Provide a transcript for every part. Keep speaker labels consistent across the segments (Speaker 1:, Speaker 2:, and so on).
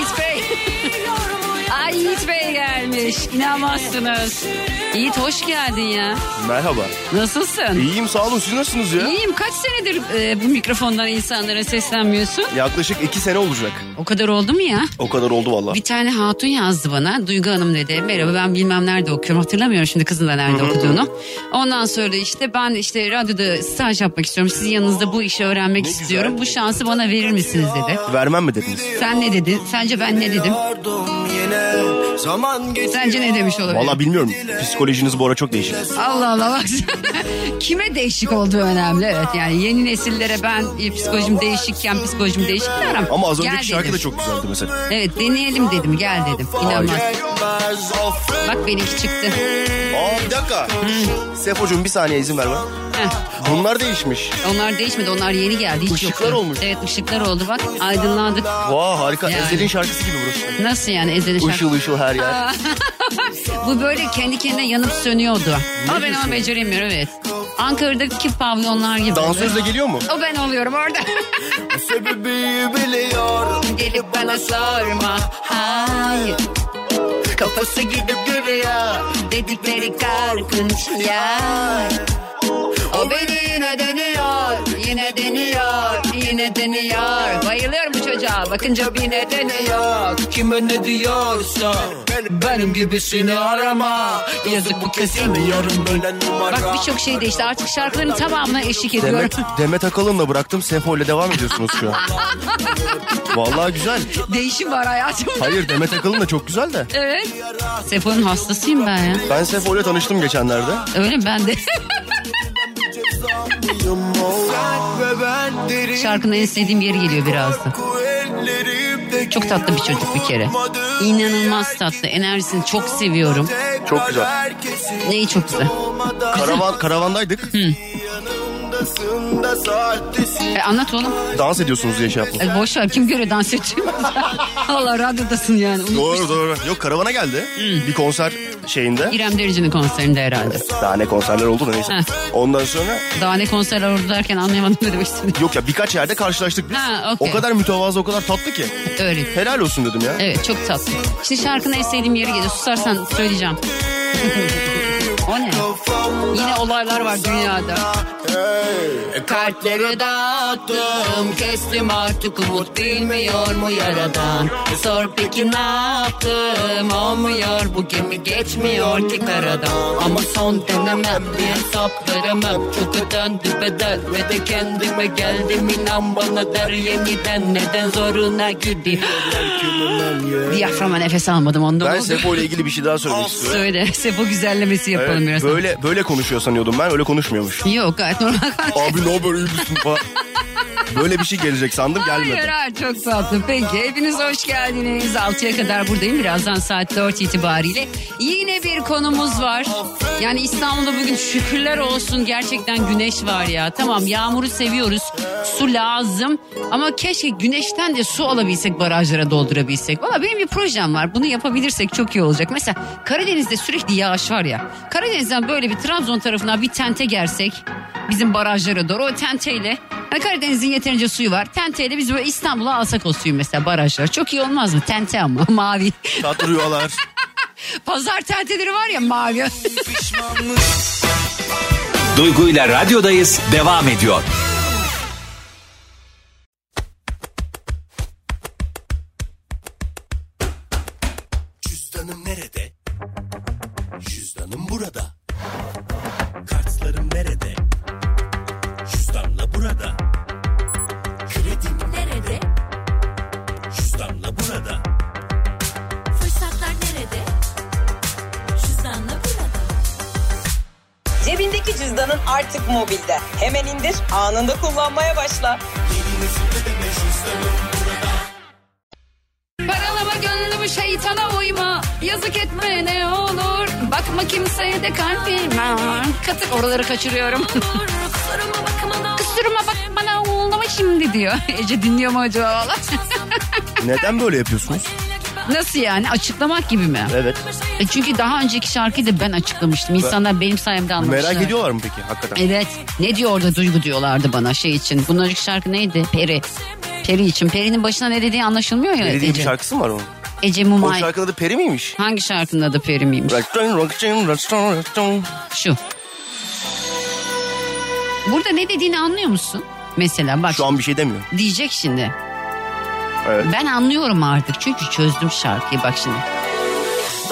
Speaker 1: Bey. Ay Yiğit Bey gelmiş. İnanmazsınız. Yiğit hoş geldin ya.
Speaker 2: Merhaba.
Speaker 1: Nasılsın?
Speaker 2: İyiyim sağ olun siz nasılsınız ya?
Speaker 1: İyiyim. Kaç senedir e, bu mikrofondan insanlara seslenmiyorsun?
Speaker 2: Yaklaşık iki sene olacak.
Speaker 1: O kadar oldu mu ya?
Speaker 2: O kadar oldu valla.
Speaker 1: Bir tane hatun yazdı bana. Duygu Hanım dedi. Merhaba ben bilmem nerede okuyorum. Hatırlamıyorum şimdi kızın da nerede okuduğunu. Ondan sonra işte ben işte radyoda staj yapmak istiyorum. Sizin yanınızda bu işi öğrenmek istiyorum. Bu şansı bana verir misiniz dedi.
Speaker 2: Vermem mi dediniz?
Speaker 1: Sen ne dedin? Sence ben ne dedim? Sence ne demiş olabilir?
Speaker 2: Valla bilmiyorum. Psikolojiniz bu ara çok değişik.
Speaker 1: Allah Allah bak. Kime değişik olduğu önemli. Evet yani yeni nesillere ben e, psikolojim değişikken psikolojim değişik derim.
Speaker 2: Ama az
Speaker 1: Gel
Speaker 2: önceki şarkı da
Speaker 1: dedim.
Speaker 2: çok güzeldi mesela.
Speaker 1: Evet deneyelim dedim gel dedim. İnanmaz. Bak benimki çıktı.
Speaker 2: Aa bir dakika. Sefocuğum bir saniye izin ver bana.
Speaker 1: Heh,
Speaker 2: Bunlar değişmiş.
Speaker 1: onlar değişmedi onlar yeni geldi. Hiç
Speaker 2: Işıklar
Speaker 1: yoktu.
Speaker 2: olmuş.
Speaker 1: Evet ışıklar oldu bak aydınlandık.
Speaker 2: Vaa harika.
Speaker 1: Yani.
Speaker 2: Ezel'in şarkısı gibi burası.
Speaker 1: Nasıl yani Ezel'in şarkı?
Speaker 2: Işıl ışıl her yer.
Speaker 1: Bu böyle kendi kendine yanıp sönüyordu. Ama ben onu beceremiyorum evet. Ankara'daki pavyonlar gibi.
Speaker 2: Dansöz de geliyor mu?
Speaker 1: O ben oluyorum orada. Gelip bana sorma. Hayır.
Speaker 2: Kafası gidip geliyor.
Speaker 1: Dedikleri korkunç ya. O beni yine deniyor, yine deniyor, yine deniyor. Bayılıyorum bu çocuğa, bakınca bir nedeni yok.
Speaker 3: Kime ne diyorsa Benim gibisini arama Yazık bu kesin yarın böyle numara
Speaker 1: Bak birçok şey değişti, artık şarkıların tamamına eşlik ediyorum.
Speaker 2: Demet, Demet Akalın'la bıraktım. Sefo ile devam ediyorsunuz şu an. Valla güzel.
Speaker 1: Değişim var hayatımda.
Speaker 2: Hayır Demet Akalın da çok güzel de.
Speaker 1: Evet. Sefo'nun hastasıyım ben ya.
Speaker 2: Ben Sefo ile tanıştım geçenlerde.
Speaker 1: Öyle mi? ben de. Şarkının en sevdiğim yeri geliyor birazdan. Çok tatlı bir çocuk bir kere. İnanılmaz tatlı. Enerjisini çok seviyorum.
Speaker 2: Çok güzel.
Speaker 1: Neyi çok güzel.
Speaker 2: Karavan, karavandaydık.
Speaker 1: E, anlat oğlum.
Speaker 2: Dans ediyorsunuz diye şey yaptım.
Speaker 1: E, boş ver kim göre dans edeceğim. Allah radyodasın yani. Unutmuşsun.
Speaker 2: Doğru doğru. Yok karavana geldi. Bir konser şeyinde.
Speaker 1: İrem Derici'nin konserinde herhalde.
Speaker 2: Daha ne konserler oldu da neyse.
Speaker 1: Heh.
Speaker 2: Ondan sonra
Speaker 1: Daha ne konser orada derken anlayamadım ne demek istediğini.
Speaker 2: yok ya birkaç yerde karşılaştık biz.
Speaker 1: Ha, okey.
Speaker 2: O kadar mütevazı o kadar tatlı ki.
Speaker 1: Öyle.
Speaker 2: Helal olsun dedim ya.
Speaker 1: Evet çok tatlı. Şimdi şarkının en sevdiğim yeri geliyor. Susarsan söyleyeceğim. o ne? Yine olaylar var dünyada. Kartları dağıttım Kestim artık umut bilmiyor mu yaradan E Sor peki ne yaptım Olmuyor bu gemi geçmiyor ki karadan Ama son denemem bir hesap veremem Çok ödendi bedel ve de kendime geldim inan bana der yeniden neden zoruna gidiyor Diyaframa nefes almadım onda
Speaker 2: Ben Sefo ile ilgili bir şey daha söylemek istiyorum.
Speaker 1: Söyle Sefo güzellemesi yapalım
Speaker 2: Evet,
Speaker 1: biraz.
Speaker 2: böyle böyle konuşuyor sanıyordum ben öyle konuşmuyormuş.
Speaker 1: Yok gayet normal.
Speaker 2: Abi ne haber iyi misin falan. Böyle bir şey gelecek sandım
Speaker 1: Hayır
Speaker 2: gelmedi.
Speaker 1: hayır çok tatlı. Peki hepiniz hoş geldiniz. 6'ya kadar buradayım. Birazdan saat 4 itibariyle. Yine bir konumuz var. Yani İstanbul'da bugün şükürler olsun gerçekten güneş var ya. Tamam yağmuru seviyoruz. Su lazım. Ama keşke güneşten de su alabilsek barajlara doldurabilsek. Valla benim bir projem var. Bunu yapabilirsek çok iyi olacak. Mesela Karadeniz'de sürekli yağış var ya. Karadeniz'den böyle bir Trabzon tarafına bir tente gersek bizim barajlara doğru. O tenteyle hani Karadeniz'in yeterince suyu var. Tenteyle biz böyle İstanbul'a alsak o suyu mesela barajlar. Çok iyi olmaz mı? Tente ama mavi.
Speaker 2: Tatlı rüyalar.
Speaker 1: Pazar tenteleri var ya mavi.
Speaker 4: Duygu ile radyodayız devam ediyor.
Speaker 5: Cüzdanım nerede? Cüzdanım burada. Kartlarım nerede? Cüzdanla burada. Kredim
Speaker 6: Nerede?
Speaker 5: cüzdanla burada.
Speaker 7: artık mobilde. Hemen indir, anında kullanmaya başla.
Speaker 1: Paralama gönlümü şeytana uyma. Yazık etme ne olur. Bakma kimseye de kalbime. Katır oraları kaçırıyorum.
Speaker 6: Kusuruma bakmadan
Speaker 1: Kusuruma bak bana oğlama şimdi diyor. Ece dinliyor mu acaba valla?
Speaker 2: Neden böyle yapıyorsunuz?
Speaker 1: Nasıl yani açıklamak gibi mi?
Speaker 2: Evet.
Speaker 1: E çünkü daha önceki şarkıyı da ben açıklamıştım. İnsanlar benim sayemde anlamışlar.
Speaker 2: Merak ediyorlar mı peki hakikaten?
Speaker 1: Evet. Ne diyor orada Duygu diyorlardı bana şey için. Bunun önceki şarkı neydi? Peri. Peri için. Peri'nin başına ne dediği anlaşılmıyor ya
Speaker 2: Dediğim bir
Speaker 1: Ece.
Speaker 2: şarkısı mı var onun?
Speaker 1: Ece
Speaker 2: O
Speaker 1: Mumay.
Speaker 2: şarkıda da peri miymiş?
Speaker 1: Hangi şarkının adı Peri miymiş?
Speaker 2: Raktan, raktan, raktan, raktan.
Speaker 1: Şu. Burada ne dediğini anlıyor musun? Mesela bak
Speaker 2: Şu an bir şey demiyor.
Speaker 1: diyecek şimdi.
Speaker 2: Evet.
Speaker 1: Ben anlıyorum artık çünkü çözdüm şarkıyı bak şimdi.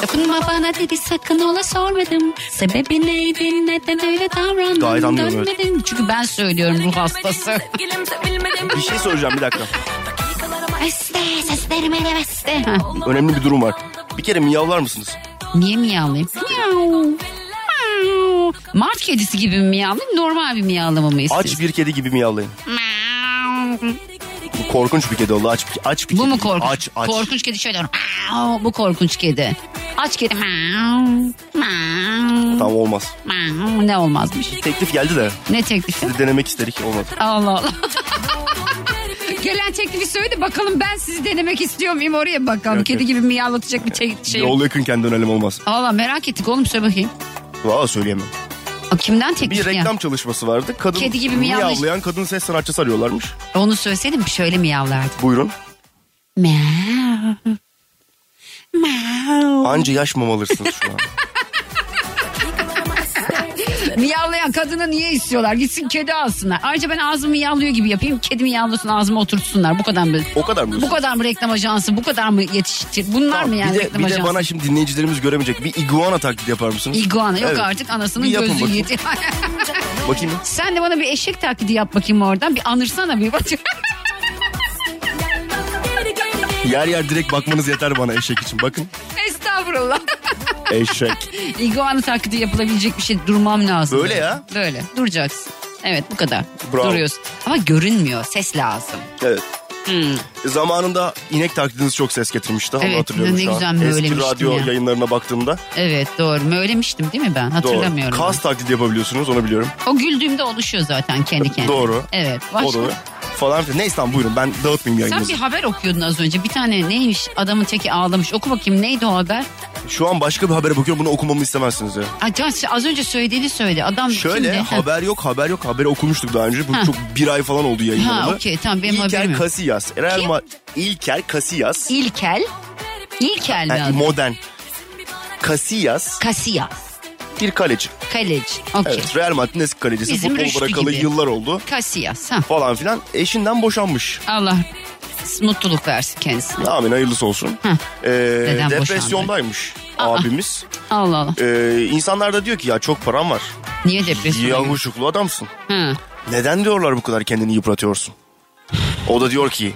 Speaker 1: Dokunma bana dedi sakın ola sormadım. Sebebi neydi neden öyle davrandın?
Speaker 2: Gayet anlıyorum, evet.
Speaker 1: Dönmedin. Çünkü ben söylüyorum ruh hastası.
Speaker 6: sevgilim sevilmedim.
Speaker 2: Bir şey soracağım bir dakika.
Speaker 1: Beste seslerime ne beste. Ha,
Speaker 2: Önemli bir durum var. Bir kere miyavlar mısınız?
Speaker 1: Niye miyavlayayım? Miyav. Miyav. Mart kedisi gibi mi miyavlayayım normal bir miyavlama mı istiyorsun?
Speaker 2: Aç bir kedi gibi miyavlayın.
Speaker 1: Miyav.
Speaker 2: Bu korkunç bir kedi oldu. Aç, bir- aç bir
Speaker 1: Bu
Speaker 2: kedi.
Speaker 1: mu korkunç?
Speaker 2: Aç, aç.
Speaker 1: Korkunç kedi şöyle. "Miau!" Bu korkunç kedi. Aç kedi. "Miau, miau,
Speaker 2: Tamam olmaz.
Speaker 1: miau." Ne olmazmış.
Speaker 2: Teklif geldi de.
Speaker 1: Ne teklifi?
Speaker 2: Sizi denemek istedik olmadı.
Speaker 1: Allah Allah. Gelen teklifi söyledi bakalım ben sizi denemek istiyor muyum oraya bakalım.
Speaker 2: Yok,
Speaker 1: Kedi
Speaker 2: yok.
Speaker 1: gibi miyavlatacak bir te- şey. yok.
Speaker 2: Yol yakınken dönelim olmaz.
Speaker 1: Allah merak ettik oğlum söyle bakayım.
Speaker 2: Valla söyleyemem.
Speaker 1: Aa, Kimden teklif
Speaker 2: Bir
Speaker 1: Şey ya?
Speaker 2: reklam çalışması vardı. Kadın
Speaker 1: Kedi gibi miyavlay-
Speaker 2: miyavlayan kadın ses sanatçısı arıyorlarmış.
Speaker 1: Onu söyleseydim şöyle miyavlardı.
Speaker 2: Buyurun.
Speaker 1: Miau. Miau.
Speaker 2: Anca yaş mama alırsınız şu an.
Speaker 1: Miyavlayan kadını niye istiyorlar? Gitsin kedi alsınlar. Ayrıca ben ağzımı miyavlıyor gibi yapayım. Kedi miyavlasın ağzıma oturtsunlar. Bu kadar mı?
Speaker 2: O kadar mı?
Speaker 1: Bu kadar mı reklam ajansı? Bu kadar mı yetiştir? Bunlar
Speaker 2: Tamam,
Speaker 1: mı yani
Speaker 2: bir de,
Speaker 1: reklam
Speaker 2: bir de
Speaker 1: ajansı?
Speaker 2: bana şimdi dinleyicilerimiz göremeyecek. Bir iguana taklidi yapar mısınız?
Speaker 1: İguana yok
Speaker 2: Evet.
Speaker 1: artık anasının
Speaker 2: Bir yapın
Speaker 1: gözü
Speaker 2: bakayım.
Speaker 1: yedi.
Speaker 2: Bakayım.
Speaker 1: Sen de bana bir eşek taklidi yap bakayım oradan. Bir anırsana bir bak.
Speaker 6: Geri geri geri.
Speaker 2: Yer yer direkt bakmanız yeter bana eşek için. Bakın.
Speaker 1: Estağfurullah.
Speaker 2: Eşek.
Speaker 1: İguana taklidi yapılabilecek bir şey durmam lazım.
Speaker 2: Böyle ya.
Speaker 1: Böyle duracaksın. Evet bu kadar.
Speaker 2: Bravo.
Speaker 1: Duruyorsun. Ama görünmüyor. Ses lazım.
Speaker 2: Evet. Zamanında inek taklidiniz çok ses getirmişti. Onu
Speaker 1: Hmm. Evet,
Speaker 2: hatırlıyorum
Speaker 1: ne
Speaker 2: şu an.
Speaker 1: güzel
Speaker 2: Eski
Speaker 1: möylemiştim
Speaker 2: radyo
Speaker 1: ya.
Speaker 2: yayınlarına baktığımda.
Speaker 1: Evet doğru. Mı Öylemiştim değil mi ben?
Speaker 2: Doğru.
Speaker 1: Hatırlamıyorum. ben.
Speaker 2: Kas taklidi yapabiliyorsunuz onu biliyorum.
Speaker 1: O güldüğümde oluşuyor zaten kendi kendine.
Speaker 2: Doğru.
Speaker 1: Evet. Başka?
Speaker 2: O da falan filan. Neyse tamam buyurun ben dağıtmayayım
Speaker 1: Sen
Speaker 2: yayınınızı.
Speaker 1: bir haber okuyordun az önce. Bir tane neymiş adamın teki ağlamış. Oku bakayım neydi o haber?
Speaker 2: Şu an başka bir habere bakıyorum bunu okumamı istemezsiniz ya.
Speaker 1: Ay, Can, az önce söylediğini söyle. Adam
Speaker 2: Şöyle
Speaker 1: kimdi? Ha,
Speaker 2: haber yok haber yok haberi okumuştuk daha önce. Bu çok bir ay falan oldu yayınlanalı.
Speaker 1: Ha, okey, tamam, benim
Speaker 2: İlker
Speaker 1: haberim yok.
Speaker 2: Casillas. Real Ma- İlker Casillas.
Speaker 1: İlkel. İlkel mi
Speaker 2: Yani
Speaker 1: adı?
Speaker 2: modern. Casillas
Speaker 1: Kasiya.
Speaker 2: bir kaleci.
Speaker 1: Kaleci. Okey.
Speaker 2: Evet Real Madrid'in eski kalecisi.
Speaker 1: Bizim Rüştü
Speaker 2: Futbol bırakalı
Speaker 1: gibi.
Speaker 2: yıllar oldu
Speaker 1: Kasiyas. Ha.
Speaker 2: falan filan. Eşinden boşanmış.
Speaker 1: Allah mutluluk versin kendisine.
Speaker 2: Amin hayırlısı olsun.
Speaker 1: Heh.
Speaker 2: Ee,
Speaker 1: Neden
Speaker 2: depresyondaymış
Speaker 1: Aa.
Speaker 2: abimiz.
Speaker 1: Allah Allah.
Speaker 2: Ee, insanlar da diyor ki ya çok param var.
Speaker 1: Niye depresyon?
Speaker 2: Yavuşuklu adamsın.
Speaker 1: Ha.
Speaker 2: Neden diyorlar bu kadar kendini yıpratıyorsun? O da diyor ki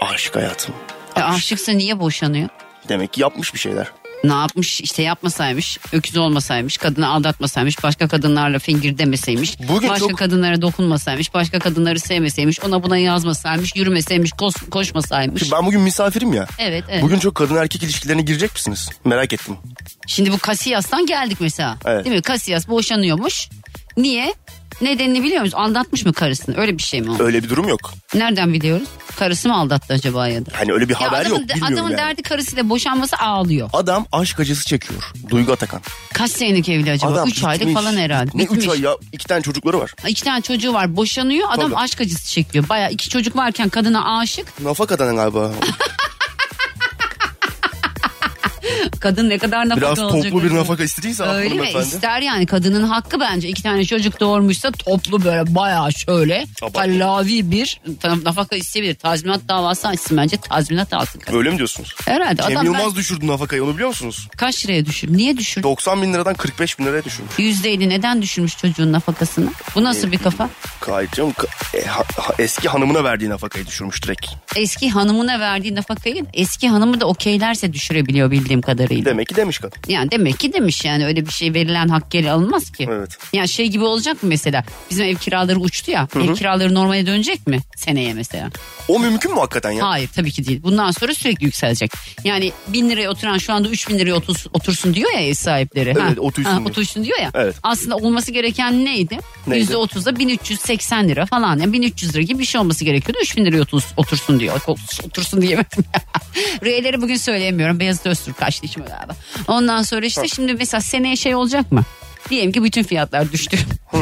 Speaker 2: aşık hayatım.
Speaker 1: E, aşıksa niye boşanıyor?
Speaker 2: Demek ki yapmış bir şeyler.
Speaker 1: Ne yapmış işte yapmasaymış, öküz olmasaymış, kadını aldatmasaymış, başka kadınlarla fingir demeseymiş,
Speaker 2: Bugün
Speaker 1: başka
Speaker 2: çok-
Speaker 1: kadınlara dokunmasaymış, başka kadınları sevmeseymiş, ona buna yazmasaymış, yürümeseymiş, kos- koşmasaymış.
Speaker 2: Şimdi ben bugün misafirim ya.
Speaker 1: Evet, evet.
Speaker 2: Bugün çok kadın erkek ilişkilerine girecek misiniz? Merak ettim.
Speaker 1: Şimdi bu Kasiyas'tan geldik mesela.
Speaker 2: Evet.
Speaker 1: Değil mi? Kasiyas boşanıyormuş. Niye? Nedenini biliyor musun? Aldatmış mı karısını? Öyle bir şey mi oldu?
Speaker 2: Öyle bir durum yok.
Speaker 1: Nereden biliyoruz? Karısı mı aldattı acaba ya da?
Speaker 2: Hani öyle bir
Speaker 1: Ya
Speaker 2: haber
Speaker 1: adamın,
Speaker 2: yok. Bilmiyorum
Speaker 1: adamın
Speaker 2: yani.
Speaker 1: derdi karısıyla boşanması ağlıyor.
Speaker 2: Adam aşk acısı çekiyor. Duygu Atakan.
Speaker 1: Kaç senelik evli acaba?
Speaker 2: Adam
Speaker 1: üç aylık
Speaker 2: bitmiş.
Speaker 1: falan herhalde.
Speaker 2: Ne
Speaker 1: Bitmiş.
Speaker 2: üç ay ya? İki tane çocukları var.
Speaker 1: İki tane çocuğu var boşanıyor adam
Speaker 2: Tabii.
Speaker 1: aşk acısı çekiyor. Baya iki çocuk varken kadına aşık.
Speaker 2: Nafakadan galiba.
Speaker 1: Kadın ne kadar nafaka
Speaker 2: Biraz
Speaker 1: alacak
Speaker 2: toplu bir
Speaker 1: acaba?
Speaker 2: nafaka istediyse
Speaker 1: Öyle mi?
Speaker 2: hanımefendi.
Speaker 1: İster yani kadının hakkı bence. iki tane çocuk doğurmuşsa toplu böyle bayağı şöyle
Speaker 2: Abartma.
Speaker 1: kallavi bir ta- nafaka isteyebilir. Tazminat davası açsın bence tazminat alsın. kadın.
Speaker 2: Öyle mi diyorsunuz?
Speaker 1: Herhalde
Speaker 2: Cem
Speaker 1: adam ben-
Speaker 2: Yılmaz düşürdü nafakayı onu biliyor musunuz?
Speaker 1: kaç liraya düşür? Niye düşür?
Speaker 2: 90 bin liradan 45 bin liraya düşürmüş.
Speaker 1: Yüzde elli neden düşürmüş çocuğun nafakasını? Bu nasıl bir kafa?
Speaker 2: Kayıtçım ka- e, ha- ha- eski hanımına verdiği nafakayı düşürmüş direkt.
Speaker 1: Eski hanımına verdiği nafakayı eski hanımı da okeylerse düşürebiliyor bildiğim kadarıyla. kadarıyla.
Speaker 2: Demek ki demiş kadın.
Speaker 1: Yani demek ki demiş yani öyle bir şey verilen hak geri alınmaz ki.
Speaker 2: Evet.
Speaker 1: Yani şey gibi olacak mı mesela? Bizim ev kiraları uçtu ya. Ev kiraları normale dönecek mi seneye mesela?
Speaker 2: O mümkün mü hakikaten ya?
Speaker 1: Hayır tabii ki değil. Bundan sonra sürekli yükselecek. Yani bin liraya oturan şu anda üç bin liraya otur- otursun diyor ya ev sahipleri.
Speaker 2: Evet, otursun diyor.
Speaker 1: otursun diyor ya.
Speaker 2: Evet.
Speaker 1: Aslında olması gereken neydi?
Speaker 2: Neydi?
Speaker 1: Yüzde otuzda 1380 lira falan. Yani 1300 lira gibi bir şey olması gerekiyordu. 3000 liraya otur- otursun diyor. Otursun, otursun diyemedim ya. R'leri bugün söyleyemiyorum. Beyazıt Öztürk kaçtı içime galiba. Ondan sonra işte şimdi mesela seneye şey olacak mı? Diyelim ki bütün fiyatlar düştü.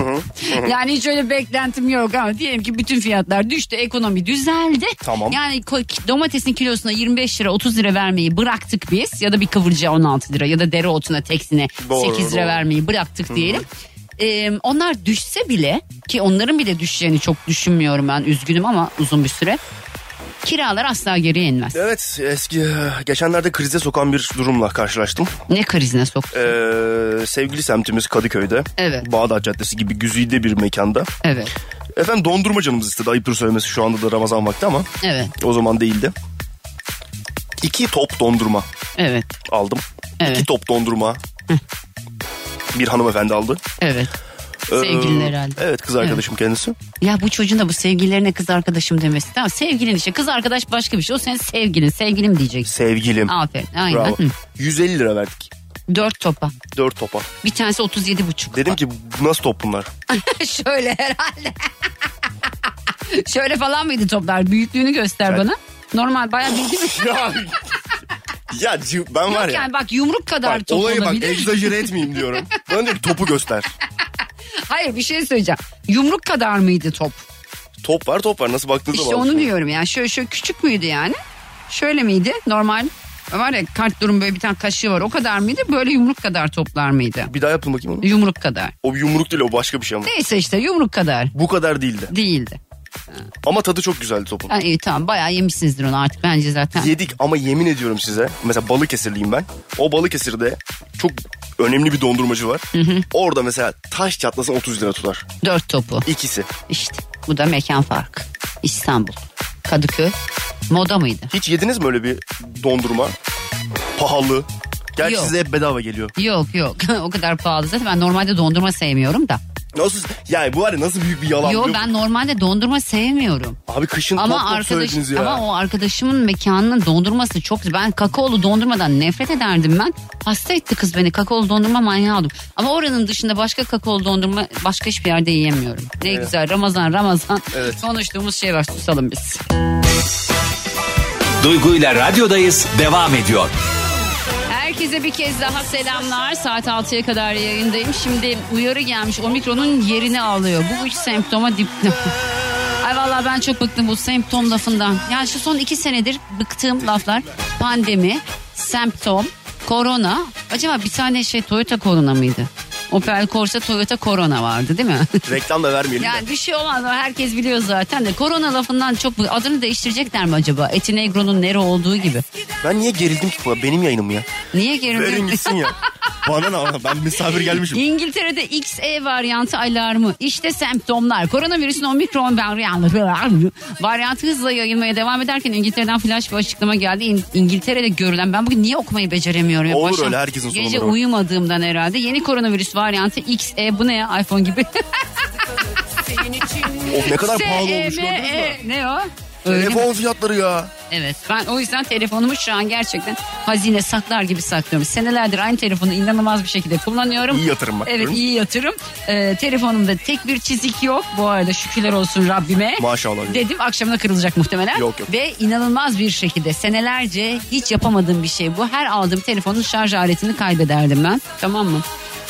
Speaker 1: yani hiç öyle beklentim yok ama diyelim ki bütün fiyatlar düştü. Ekonomi düzeldi.
Speaker 2: Tamam.
Speaker 1: Yani ko- domatesin kilosuna 25 lira 30 lira vermeyi bıraktık biz. Ya da bir kıvırcığa 16 lira ya da dereotuna teksine
Speaker 2: Doğru,
Speaker 1: 8 lira
Speaker 2: doğru.
Speaker 1: vermeyi bıraktık diyelim. Ee, onlar düşse bile ki onların bile düşeceğini çok düşünmüyorum ben üzgünüm ama uzun bir süre. Kiralar asla geriye inmez.
Speaker 2: Evet eski e, geçenlerde krize sokan bir durumla karşılaştım.
Speaker 1: Ne krizine soktu.
Speaker 2: Ee, sevgili semtimiz Kadıköy'de.
Speaker 1: Evet.
Speaker 2: Bağdat Caddesi gibi güzide bir mekanda.
Speaker 1: Evet.
Speaker 2: Efendim dondurma canımız istedi ayıptır söylemesi şu anda da Ramazan vakti ama
Speaker 1: Evet.
Speaker 2: o zaman değildi. İki top dondurma
Speaker 1: Evet.
Speaker 2: aldım.
Speaker 1: Evet.
Speaker 2: İki top dondurma bir hanımefendi aldı.
Speaker 1: Evet.
Speaker 2: Ee,
Speaker 1: Sevgilin herhalde.
Speaker 2: Evet kız arkadaşım kendisi.
Speaker 1: Ya bu çocuğun da bu sevgililerine kız arkadaşım demesi. Tamam sevgilin işte kız arkadaş başka bir şey. O senin sevgilin sevgilim diyeceksin.
Speaker 2: Sevgilim.
Speaker 1: Aferin. Aynen.
Speaker 2: Bravo.
Speaker 1: Hı.
Speaker 2: 150 lira verdik.
Speaker 1: Dört topa.
Speaker 2: Dört topa.
Speaker 1: Bir tanesi 37 buçuk.
Speaker 2: Dedim ki "Bu nasıl top bunlar?
Speaker 1: Şöyle herhalde. Şöyle falan mıydı toplar? Büyüklüğünü göster
Speaker 2: Evet.
Speaker 1: bana. Normal bayağı büyük değil mi?
Speaker 2: ya, ya ci- ben var
Speaker 1: Yok
Speaker 2: ya.
Speaker 1: yani bak yumruk kadar
Speaker 2: Bak,
Speaker 1: top
Speaker 2: olayı bak
Speaker 1: olabilir.
Speaker 2: egzajere etmeyeyim diyorum. Bana diyor ki, topu göster.
Speaker 1: Hayır bir şey söyleyeceğim. Yumruk kadar mıydı top?
Speaker 2: Top var top var nasıl baktığınız
Speaker 1: İşte onu diyorum yani. Şöyle şöyle küçük müydü yani? Şöyle miydi? Normal var ya kart durum böyle bir tane kaşığı var. O kadar mıydı? Böyle yumruk kadar toplar mıydı?
Speaker 2: Bir daha yapın bakayım onu.
Speaker 1: Yumruk kadar.
Speaker 2: O bir yumruk değil o başka bir şey ama.
Speaker 1: Neyse işte yumruk kadar
Speaker 2: Bu kadar değildi.
Speaker 1: değildi.
Speaker 2: Ama tadı çok güzeldi topun.
Speaker 1: Ha, iyi tamam bayağı yemişsinizdir onu artık bence zaten.
Speaker 2: Yedik ama yemin ediyorum size. Mesela Balıkesirliyim ben. O Balıkesir'de çok önemli bir dondurmacı var. Orada mesela taş çatlasın 30 lira tutar.
Speaker 1: Dört topu.
Speaker 2: İkisi.
Speaker 1: İşte bu da mekan farkı. İstanbul, Kadıköy. Moda mıydı?
Speaker 2: Hiç yediniz mi öyle bir dondurma? Pahalı. Gerçi
Speaker 1: Yok.
Speaker 2: size hep bedava geliyor.
Speaker 1: Yok yok o kadar pahalı zaten ben normalde dondurma sevmiyorum da.
Speaker 2: Nasıl? Yani bu var ya nasıl büyük bir yalan.
Speaker 1: Yo
Speaker 2: biliyor musun?
Speaker 1: ben normalde dondurma sevmiyorum.
Speaker 2: Abi kışın
Speaker 1: Ama
Speaker 2: top top söylediniz
Speaker 1: arkadaş
Speaker 2: ya.
Speaker 1: ama o arkadaşımın mekanının dondurması çok ben kakaolu dondurmadan nefret ederdim ben. Hasta etti kız beni kakaolu dondurma manyağı oldum. Ama oranın dışında başka kakaolu dondurma başka hiçbir yerde yiyemiyorum. Ne güzel Ramazan Ramazan konuştuğumuz şey var susalım biz.
Speaker 4: Duygu ile radyodayız devam ediyor.
Speaker 1: Herkese bir kez daha selamlar. Saat 6'ya kadar yayındayım. Şimdi uyarı gelmiş. Omikron'un yerini alıyor. Bu üç semptoma dip... Ay vallahi ben çok bıktım bu semptom lafından. Yani şu son iki senedir bıktığım laflar. Pandemi, semptom, korona. Acaba bir tane şey Toyota korona mıydı? Opel Corsa Toyota korona vardı değil mi?
Speaker 2: Reklam da vermeyelim de.
Speaker 1: Yani bir şey olmaz ama herkes biliyor zaten de. Korona lafından çok bu- adını değiştirecekler mi acaba? Eti Negro'nun Nero olduğu gibi.
Speaker 2: Ben niye gerildim ki? bu? Benim yayınım ya.
Speaker 1: Niye geri
Speaker 2: Verin gitsin ya. Bana ne ama ben misafir gelmişim.
Speaker 1: İngiltere'de XE varyantı alarmı. İşte semptomlar. Koronavirüsün omikron varyantı. Varyantı hızla yayılmaya devam ederken İngiltere'den flash bir açıklama geldi. İn- İngiltere'de görülen ben bugün niye okumayı beceremiyorum? ya?
Speaker 2: Olur
Speaker 1: Başım-
Speaker 2: öyle, herkesin sorunu
Speaker 1: Gece
Speaker 2: var.
Speaker 1: uyumadığımdan herhalde. Yeni koronavirüs varyantı XE bu ne ya iPhone gibi.
Speaker 2: Of ne kadar pahalı olmuş gördünüz mü?
Speaker 1: SME. E ne o? Ee, Öyle mi?
Speaker 2: Telefon fiyatları ya.
Speaker 1: Evet ben o yüzden telefonumu şu an gerçekten hazine saklar gibi saklıyorum. Senelerdir aynı telefonu inanılmaz bir şekilde kullanıyorum.
Speaker 2: İyi yatırım bak.
Speaker 1: Evet
Speaker 2: Hı?
Speaker 1: iyi yatırım. Ee, telefonumda tek bir çizik yok. Bu arada şükürler olsun Rabbime.
Speaker 2: Maşallah.
Speaker 1: Dedim akşamına kırılacak muhtemelen.
Speaker 2: Yok, yok.
Speaker 1: Ve inanılmaz bir şekilde senelerce hiç yapamadığım bir şey bu. Her aldığım telefonun şarj aletini kaybederdim ben. Tamam mı?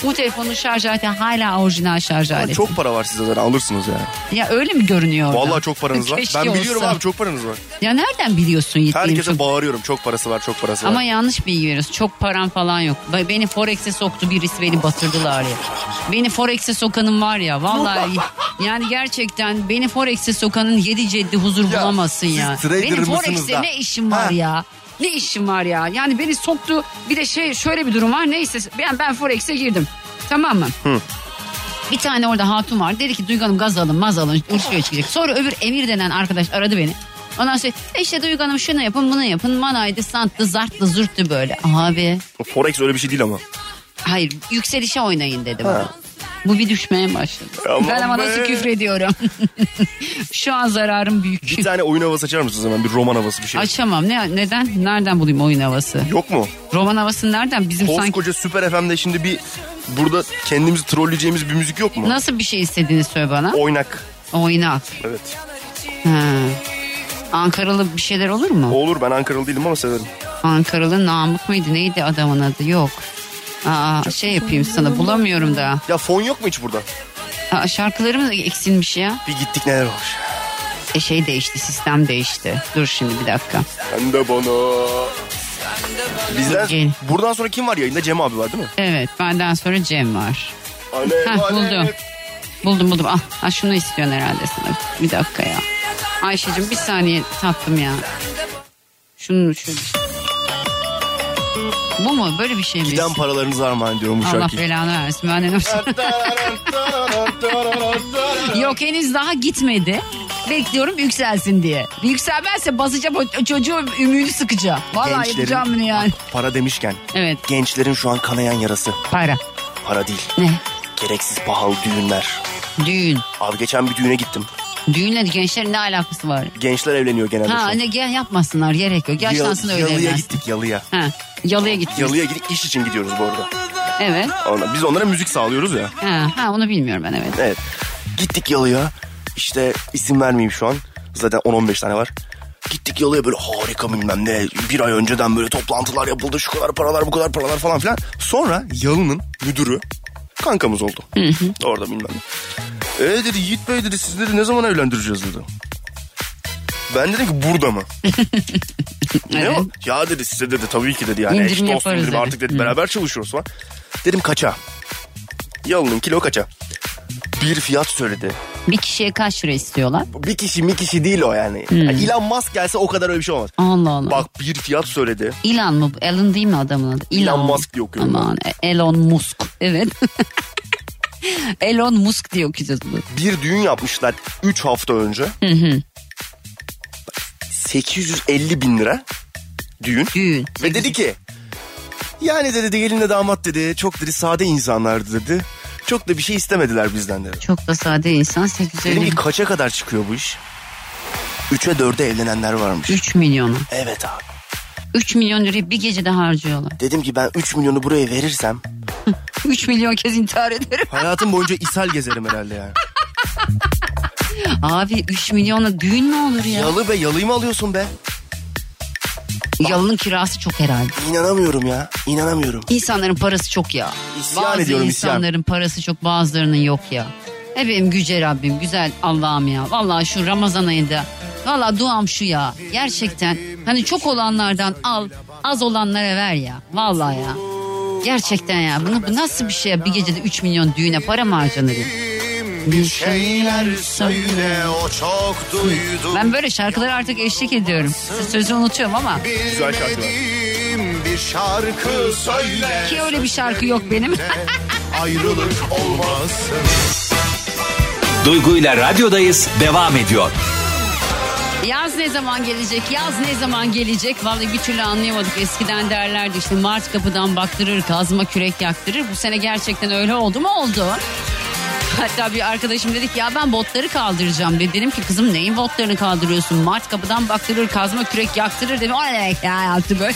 Speaker 1: Bu telefonun şarj aleti hala orijinal şarj
Speaker 2: Lan
Speaker 1: aleti.
Speaker 2: Çok para var sizde zaten alırsınız ya.
Speaker 1: Ya öyle mi görünüyor? orada?
Speaker 2: Vallahi çok paranız var.
Speaker 1: Keşke
Speaker 2: Ben biliyorum
Speaker 1: olsa.
Speaker 2: abi çok paranız var.
Speaker 1: Ya nereden biliyorsun yettiğim çok-
Speaker 2: Herkese bağırıyorum çok parası var çok parası
Speaker 1: Ama
Speaker 2: var.
Speaker 1: yanlış bilgi veriyorsun. Çok param falan yok. Be- Beni Forex'e soktu birisi beni batırdılar ya. Beni Forex'e sokanın var ya vallahi yani gerçekten beni Forex'e sokanın yedi ceddi huzur
Speaker 2: Ya,
Speaker 1: bulamazsın
Speaker 2: siz
Speaker 1: ya.
Speaker 2: trader
Speaker 1: Benim
Speaker 2: mısınız
Speaker 1: Forex'te
Speaker 2: da?
Speaker 1: ne işim var
Speaker 2: Ha.
Speaker 1: ya? Ne işim var ya? Yani beni soktu. Bir de şey şöyle bir durum var. Neyse ben ben Forex'e girdim. Tamam mı? Bir tane orada hatun var. Dedi ki Duygu Hanım gaz alın maz alın. Urfa'ya çıkacak. Sonra öbür Emir denen arkadaş aradı beni. Ondan sonra "E işte Duygu Hanım şunu yapın bunu yapın. Manaydı, santlı, zartlı, zürttü böyle. Abi
Speaker 2: Forex öyle bir şey değil ama.
Speaker 1: hayır yükselişe oynayın dedi bana. Bu bir düşmeye başladı.
Speaker 2: Aman
Speaker 1: ben ama
Speaker 2: be.
Speaker 1: nasıl küfür ediyorum. Şu an zararım büyük.
Speaker 2: Bir tane oyun havası açar mısınız hemen? Bir roman havası bir şey.
Speaker 1: Açamam. Ne, neden? Nereden bulayım oyun havası?
Speaker 2: Yok mu?
Speaker 1: Roman havası nereden? Bizim sanki
Speaker 2: Koskoca Süper FM'de şimdi bir burada kendimizi trolleyeceğimiz bir müzik yok mu?
Speaker 1: nasıl bir şey istediğini söyle bana.
Speaker 2: Oynak.
Speaker 1: Oynak.
Speaker 2: Evet.
Speaker 1: Ha. Ankaralı bir şeyler olur mu?
Speaker 2: Olur ben Ankaralı değilim ama severim.
Speaker 1: Ankaralı Namık mıydı neydi adamın adı yok. Aa, şey yapayım sana bulamıyorum da.
Speaker 2: Ya fon yok mu hiç burada?
Speaker 1: Aa, şarkılarımız eksilmiş ya.
Speaker 2: Bir gittik neler olmuş.
Speaker 1: E şey değişti sistem değişti. Dur şimdi bir dakika.
Speaker 2: Sen de bana. Bizden
Speaker 1: Gel.
Speaker 2: buradan sonra kim var yayında? Cem abi var değil mi?
Speaker 1: Evet benden sonra Cem var.
Speaker 2: Alev,
Speaker 1: Heh,
Speaker 2: alev.
Speaker 1: buldum. Buldum buldum. Ah, ah şunu istiyorsun herhalde sana. Bir dakika ya. Ayşe'cim bir saniye tatlım ya. Şunu şöyle. Bu mu? Böyle bir şey mi?
Speaker 2: Giden paralarınızı armağan ediyorum bu
Speaker 1: Allah
Speaker 2: şarkıyı.
Speaker 1: belanı versin. Ben de Yok henüz daha gitmedi. Bekliyorum yükselsin diye. Yükselmezse basacağım o çocuğu ümüğünü sıkacağım. Vallahi yapacağım bunu yani.
Speaker 2: Bak, para demişken
Speaker 1: Evet
Speaker 2: gençlerin şu an kanayan yarası.
Speaker 1: para.
Speaker 2: Para değil.
Speaker 1: Ne?
Speaker 2: Gereksiz pahalı düğünler.
Speaker 1: Düğün.
Speaker 2: Abi geçen bir düğüne gittim.
Speaker 1: Düğünle gençlerin ne alakası var?
Speaker 2: Gençler evleniyor genelde şu
Speaker 1: Ha
Speaker 2: an.
Speaker 1: ne gel yapmasınlar gerek yok. Yaşlansın öyle
Speaker 2: Yalıya
Speaker 1: evlensin.
Speaker 2: gittik yalıya.
Speaker 1: Ha, yalıya gitmiş.
Speaker 2: Yalıya gidip iş için gidiyoruz bu arada.
Speaker 1: Evet.
Speaker 2: Ona- Biz onlara müzik sağlıyoruz ya.
Speaker 1: Ha, ha onu bilmiyorum ben evet.
Speaker 2: Evet. Gittik yalıya. İşte isim vermeyeyim şu an. Zaten 10-15 tane var. Gittik yalıya böyle harika bilmem ne. Bir ay önceden böyle toplantılar yapıldı. Şu kadar paralar bu kadar paralar falan filan. Sonra yalının müdürü kankamız oldu. Orada bilmem ne. E dedi Yiğit Bey dedi siz dedi ne zaman evlendireceğiz dedi. Ben dedim ki burada mı? ne o? Ya dedi size dedi tabii ki dedi yani.
Speaker 1: İndirim
Speaker 2: eş dost
Speaker 1: yaparız
Speaker 2: indirim
Speaker 1: dedi.
Speaker 2: artık dedi beraber çalışıyoruz falan. Dedim kaça? Yalının kilo kaça? Bir fiyat söyledi.
Speaker 1: Bir kişiye kaç lira istiyorlar?
Speaker 2: Bir kişi mi kişi değil o yani. yani Elon Musk gelse o kadar öyle bir şey olmaz.
Speaker 1: Allah Allah.
Speaker 2: Bak bir fiyat söyledi.
Speaker 1: Elon mu? bu? Elon değil mi adamın adı?
Speaker 2: Elon
Speaker 1: mu?
Speaker 2: Musk diye okuyorum ben.
Speaker 1: Aman e, Elon Musk. Evet. Elon Musk diye okuyacağız bunu.
Speaker 2: Bir düğün yapmışlar 3 hafta önce. 850 bin lira düğün.
Speaker 1: Düğün.
Speaker 2: Ve dedi ki yani dedi gelinle damat dedi çok dedi sade insanlardı dedi. Çok da bir şey istemediler bizden dedi.
Speaker 1: Çok da sade insan.
Speaker 2: Dedim ki
Speaker 1: 850.
Speaker 2: kaça kadar çıkıyor bu iş? 3'e 4'e evlenenler varmış.
Speaker 1: 3 milyonu.
Speaker 2: Evet abi.
Speaker 1: 3 milyon lirayı bir gecede harcıyorlar.
Speaker 2: Dedim ki ben 3 milyonu buraya verirsem
Speaker 1: 3 milyon kez intihar ederim.
Speaker 2: hayatım boyunca ishal gezerim herhalde yani.
Speaker 1: Abi 3 milyonla düğün mü olur ya?
Speaker 2: Yalı be yalıyı mı alıyorsun be?
Speaker 1: Yalının kirası çok herhalde.
Speaker 2: İnanamıyorum ya. İnanamıyorum.
Speaker 1: İnsanların parası çok ya.
Speaker 2: İsyan
Speaker 1: Bazı
Speaker 2: ediyorum, isyan.
Speaker 1: insanların parası çok bazılarının yok ya. Efendim güce Rabbim güzel Allah'ım ya. Vallahi şu Ramazan ayında. Vallahi duam şu ya. Gerçekten hani çok olanlardan al az olanlara ver ya. Vallahi ya. Gerçekten ya. Bunu, bu nasıl bir şey ya? Bir gecede 3 milyon düğüne para mı harcanır ya? Bir şeyler söyle
Speaker 3: o çok duydu
Speaker 1: Ben böyle şarkılara artık eşlik ediyorum. Sözü unutuyorum ama.
Speaker 2: Güzel şarkı var.
Speaker 3: bir şarkı söyle
Speaker 1: Ki öyle bir şarkı yok benim.
Speaker 3: ayrılık olmasın
Speaker 4: Duygu ile radyodayız devam ediyor.
Speaker 1: Yaz ne zaman gelecek? Yaz ne zaman gelecek? Vallahi bir türlü anlayamadık. Eskiden derlerdi işte Mart kapıdan baktırır, kazma kürek yaktırır. Bu sene gerçekten öyle oldu mu? Oldu. Hatta bir arkadaşım dedi ki ya ben botları kaldıracağım dedi. Dedim ki kızım neyin botlarını kaldırıyorsun? Mart kapıdan baktırır, kazma kürek yaktırır dedi. O ne demek ya yaptı böyle.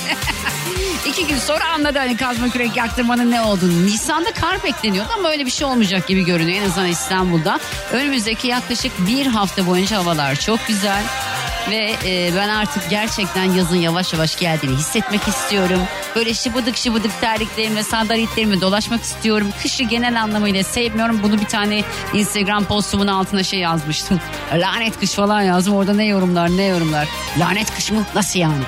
Speaker 1: İki gün sonra anladı hani kazma kürek yaktırmanın ne olduğunu. Nisan'da kar bekleniyordu ama öyle bir şey olmayacak gibi görünüyor en azından İstanbul'da. Önümüzdeki yaklaşık bir hafta boyunca havalar çok güzel. Ve e, ben artık gerçekten yazın yavaş yavaş geldiğini hissetmek istiyorum. Böyle şıbıdık şıbıdık terliklerimle, sandaletlerimle dolaşmak istiyorum. Kışı genel anlamıyla sevmiyorum. Bunu bir tane Instagram postumun altına şey yazmıştım. Lanet kış falan yazdım. Orada ne yorumlar ne yorumlar. Lanet kış mı? Nasıl yani?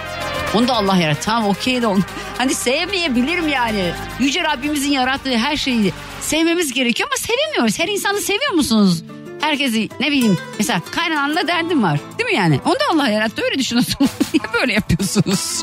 Speaker 1: Onu da Allah yarattı. Tamam okey de onu. Hani sevmeyebilirim yani. Yüce Rabbimizin yarattığı her şeyi sevmemiz gerekiyor ama sevemiyoruz. Her insanı seviyor musunuz? Herkesi ne bileyim mesela kaynananla derdim var. Değil mi yani? Onu da Allah yarattı öyle düşünüyorsunuz. Niye böyle yapıyorsunuz?